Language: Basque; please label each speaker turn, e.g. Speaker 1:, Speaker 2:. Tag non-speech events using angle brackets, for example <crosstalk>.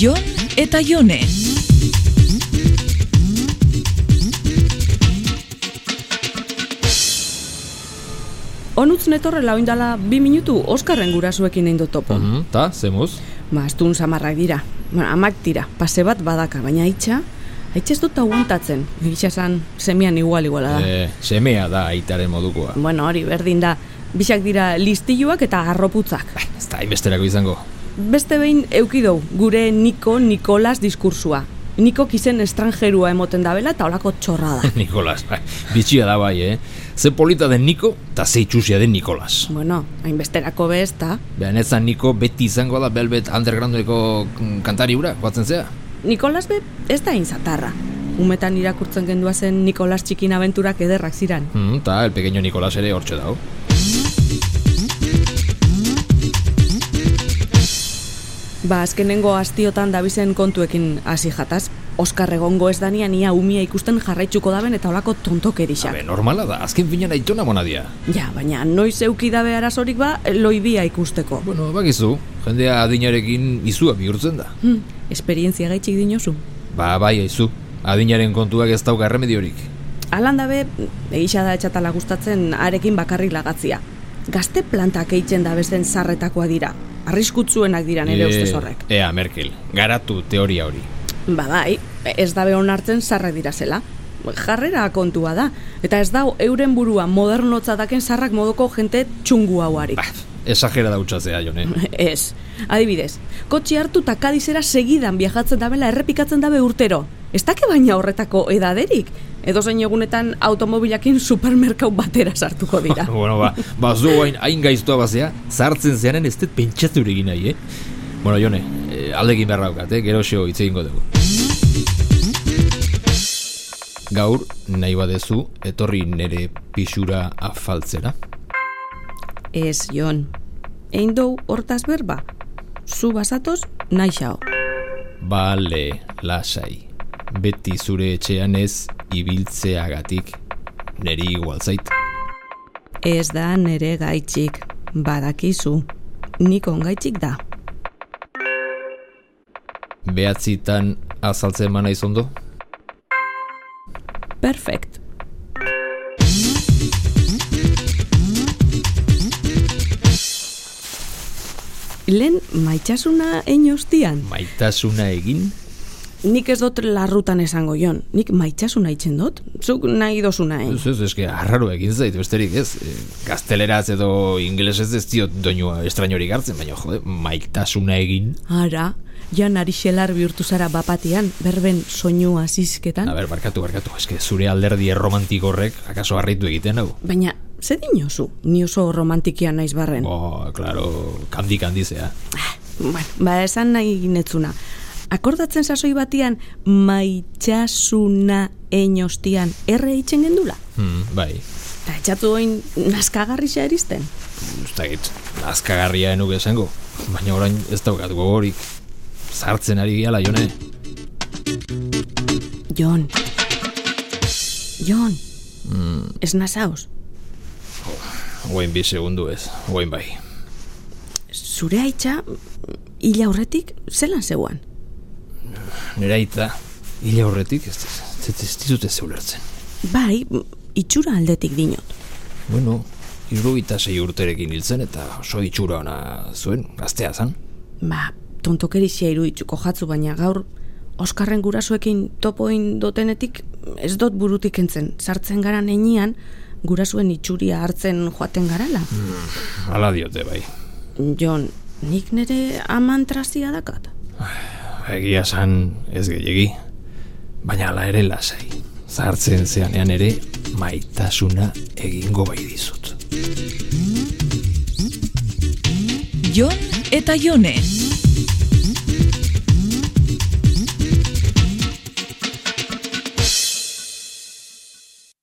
Speaker 1: Jon eta Jone.
Speaker 2: Onutz netorrela oindala bi minutu Oskarren gurasuekin egin dut topo.
Speaker 3: Mhm, Ta, zemuz?
Speaker 2: Ba, astun samarrak dira. Ba, amak dira, pase bat badaka, baina itxa, itxa ez dut aguantatzen. Egitxa esan, semian igual iguala da.
Speaker 3: Eh, semea da aitaren modukoa.
Speaker 2: Bueno, hori, berdin da. Bisak dira listiluak eta arroputzak.
Speaker 3: Bai, Ez da, hainbesterako izango. <laughs>
Speaker 2: Beste behin eukidou, gure Niko Nikolas diskursua. Niko kizen estranjerua emoten dabela eta olako txorra
Speaker 3: <laughs>
Speaker 2: da.
Speaker 3: Nikolas, ba, bitxia da bai, eh? Ze polita den Niko, eta ze itxusia den Nikolas.
Speaker 2: bueno, hainbesterako bez, eta
Speaker 3: Behan ez da Niko beti izango da Velvet Undergroundeko mm, kantari hura, batzen zea.
Speaker 2: Nikolas be ez da inzatarra. Umetan irakurtzen gendua zen Nikolas txikin abenturak ederrak ziran.
Speaker 3: Mm, ta, el pequeño Nikolas ere hortxe dago.
Speaker 2: Ba, azkenengo astiotan dabizen kontuekin hasi jataz. Oskar egongo ez dania ia umia ikusten jarraitzuko daben eta olako tontokerixak.
Speaker 3: Habe, normala da, azken finean aitona monadia.
Speaker 2: Ja, baina noiz eukidabe arazorik ba, loibia ikusteko.
Speaker 3: Bueno, bakizu, jendea adinarekin izua bihurtzen da.
Speaker 2: Hm, esperientzia gaitxik dinozu.
Speaker 3: Ba, bai, aizu, adinaren kontuak ez dauka remediorik.
Speaker 2: Alan dabe, egisa da etxatala gustatzen arekin bakarrik lagatzia. Gazte plantak eitzen da bezen zarretakoa dira. Arriskutsuenak dira nere ustez horrek.
Speaker 3: Eh, Ea, Merkel, garatu teoria hori.
Speaker 2: Badai, ez dabe onartzen zarrak dira zela. Jarrera kontua da, eta ez dau euren burua modernotzataken zarrak modoko jente txungu hauari.
Speaker 3: Bah, esagera dautxatzea, jone.
Speaker 2: Ez, adibidez, kotxe hartu eta kadizera segidan viajatzen dabela errepikatzen dabe urtero. Ez dake baina horretako edaderik, edo zein egunetan automobilakin supermerkau batera sartuko dira.
Speaker 3: <laughs> bueno, ba, ba zu hain, hain gaiztua bazea, zartzen zearen ez dut pentsatu ere egin nahi, eh? Bueno, jone, eh, aldekin behar daukat, eh? Gero xeo hitz egingo dugu. Gaur, nahi badezu, etorri nere pixura afaltzera.
Speaker 2: Ez, Jon, egin dou hortaz berba, zu bazatoz nahi xao.
Speaker 3: Bale, lasai. Beti zure etxean ez ibiltzeagatik. Neri igual zait.
Speaker 2: Ez da nere gaitxik, badakizu, nik ongaitxik da.
Speaker 3: Behatzitan azaltzen eman naiz ondo?
Speaker 2: Perfect. Lehen maitasuna egin ostian.
Speaker 3: Maitasuna egin?
Speaker 2: Nik ez dut larrutan esango jon. Nik maitsasuna itzen dut. Zuk nahi dozuna egin.
Speaker 3: Ez, ez, eske, harraro egin zait, besterik ez. E, Gazteleraz edo inglesez ez diot doinua estrainorik hartzen, baina jode, maitasuna egin.
Speaker 2: Ara, jan ari xelar bihurtu zara bapatian, berben soinu
Speaker 3: A
Speaker 2: azizketan.
Speaker 3: ber, barkatu, barkatu, eske zure alderdi erromantik horrek, akaso harritu egiten hau.
Speaker 2: Baina, ze dinozu? Ni oso romantikia naiz barren.
Speaker 3: Bo, klaro, kandik handizea.
Speaker 2: Bueno, ba, esan nahi ginetzuna. Akordatzen sasoi batian, maitxasuna enostian erre itxen gendula.
Speaker 3: Hmm, bai,
Speaker 2: Eta etxatu oin naskagarri xa eristen.
Speaker 3: ustakit, azkagarria enuk esango, baina orain ez daukat gogorik. Zartzen ari giala, jone.
Speaker 2: Jon. Jon. Ez nasaos.
Speaker 3: Oain bi segundu ez, oain bai.
Speaker 2: Zure aitxa, hila horretik, zelan zeuan.
Speaker 3: Nera ita, hile horretik, ez, ez, ez, ez dizut ez ulertzen.
Speaker 2: Bai, itxura aldetik dinot.
Speaker 3: Bueno, irrugita sei urterekin hiltzen eta oso itxura ona zuen, gaztea zan.
Speaker 2: Ba, tontokerixia iruditzuko jatzu, baina gaur Oskarren gurasoekin topoin dotenetik ez dot burutik entzen. Sartzen gara neinean, gurasoen itxuria hartzen joaten garala.
Speaker 3: Hala diote bai.
Speaker 2: Jon, nik nire aman trazia dakat.
Speaker 3: Egia san ez gehiegi. Baina hala ere lasai. Zartzen zeanean ere maitasuna egingo bai dizut.
Speaker 1: Jon eta Jone.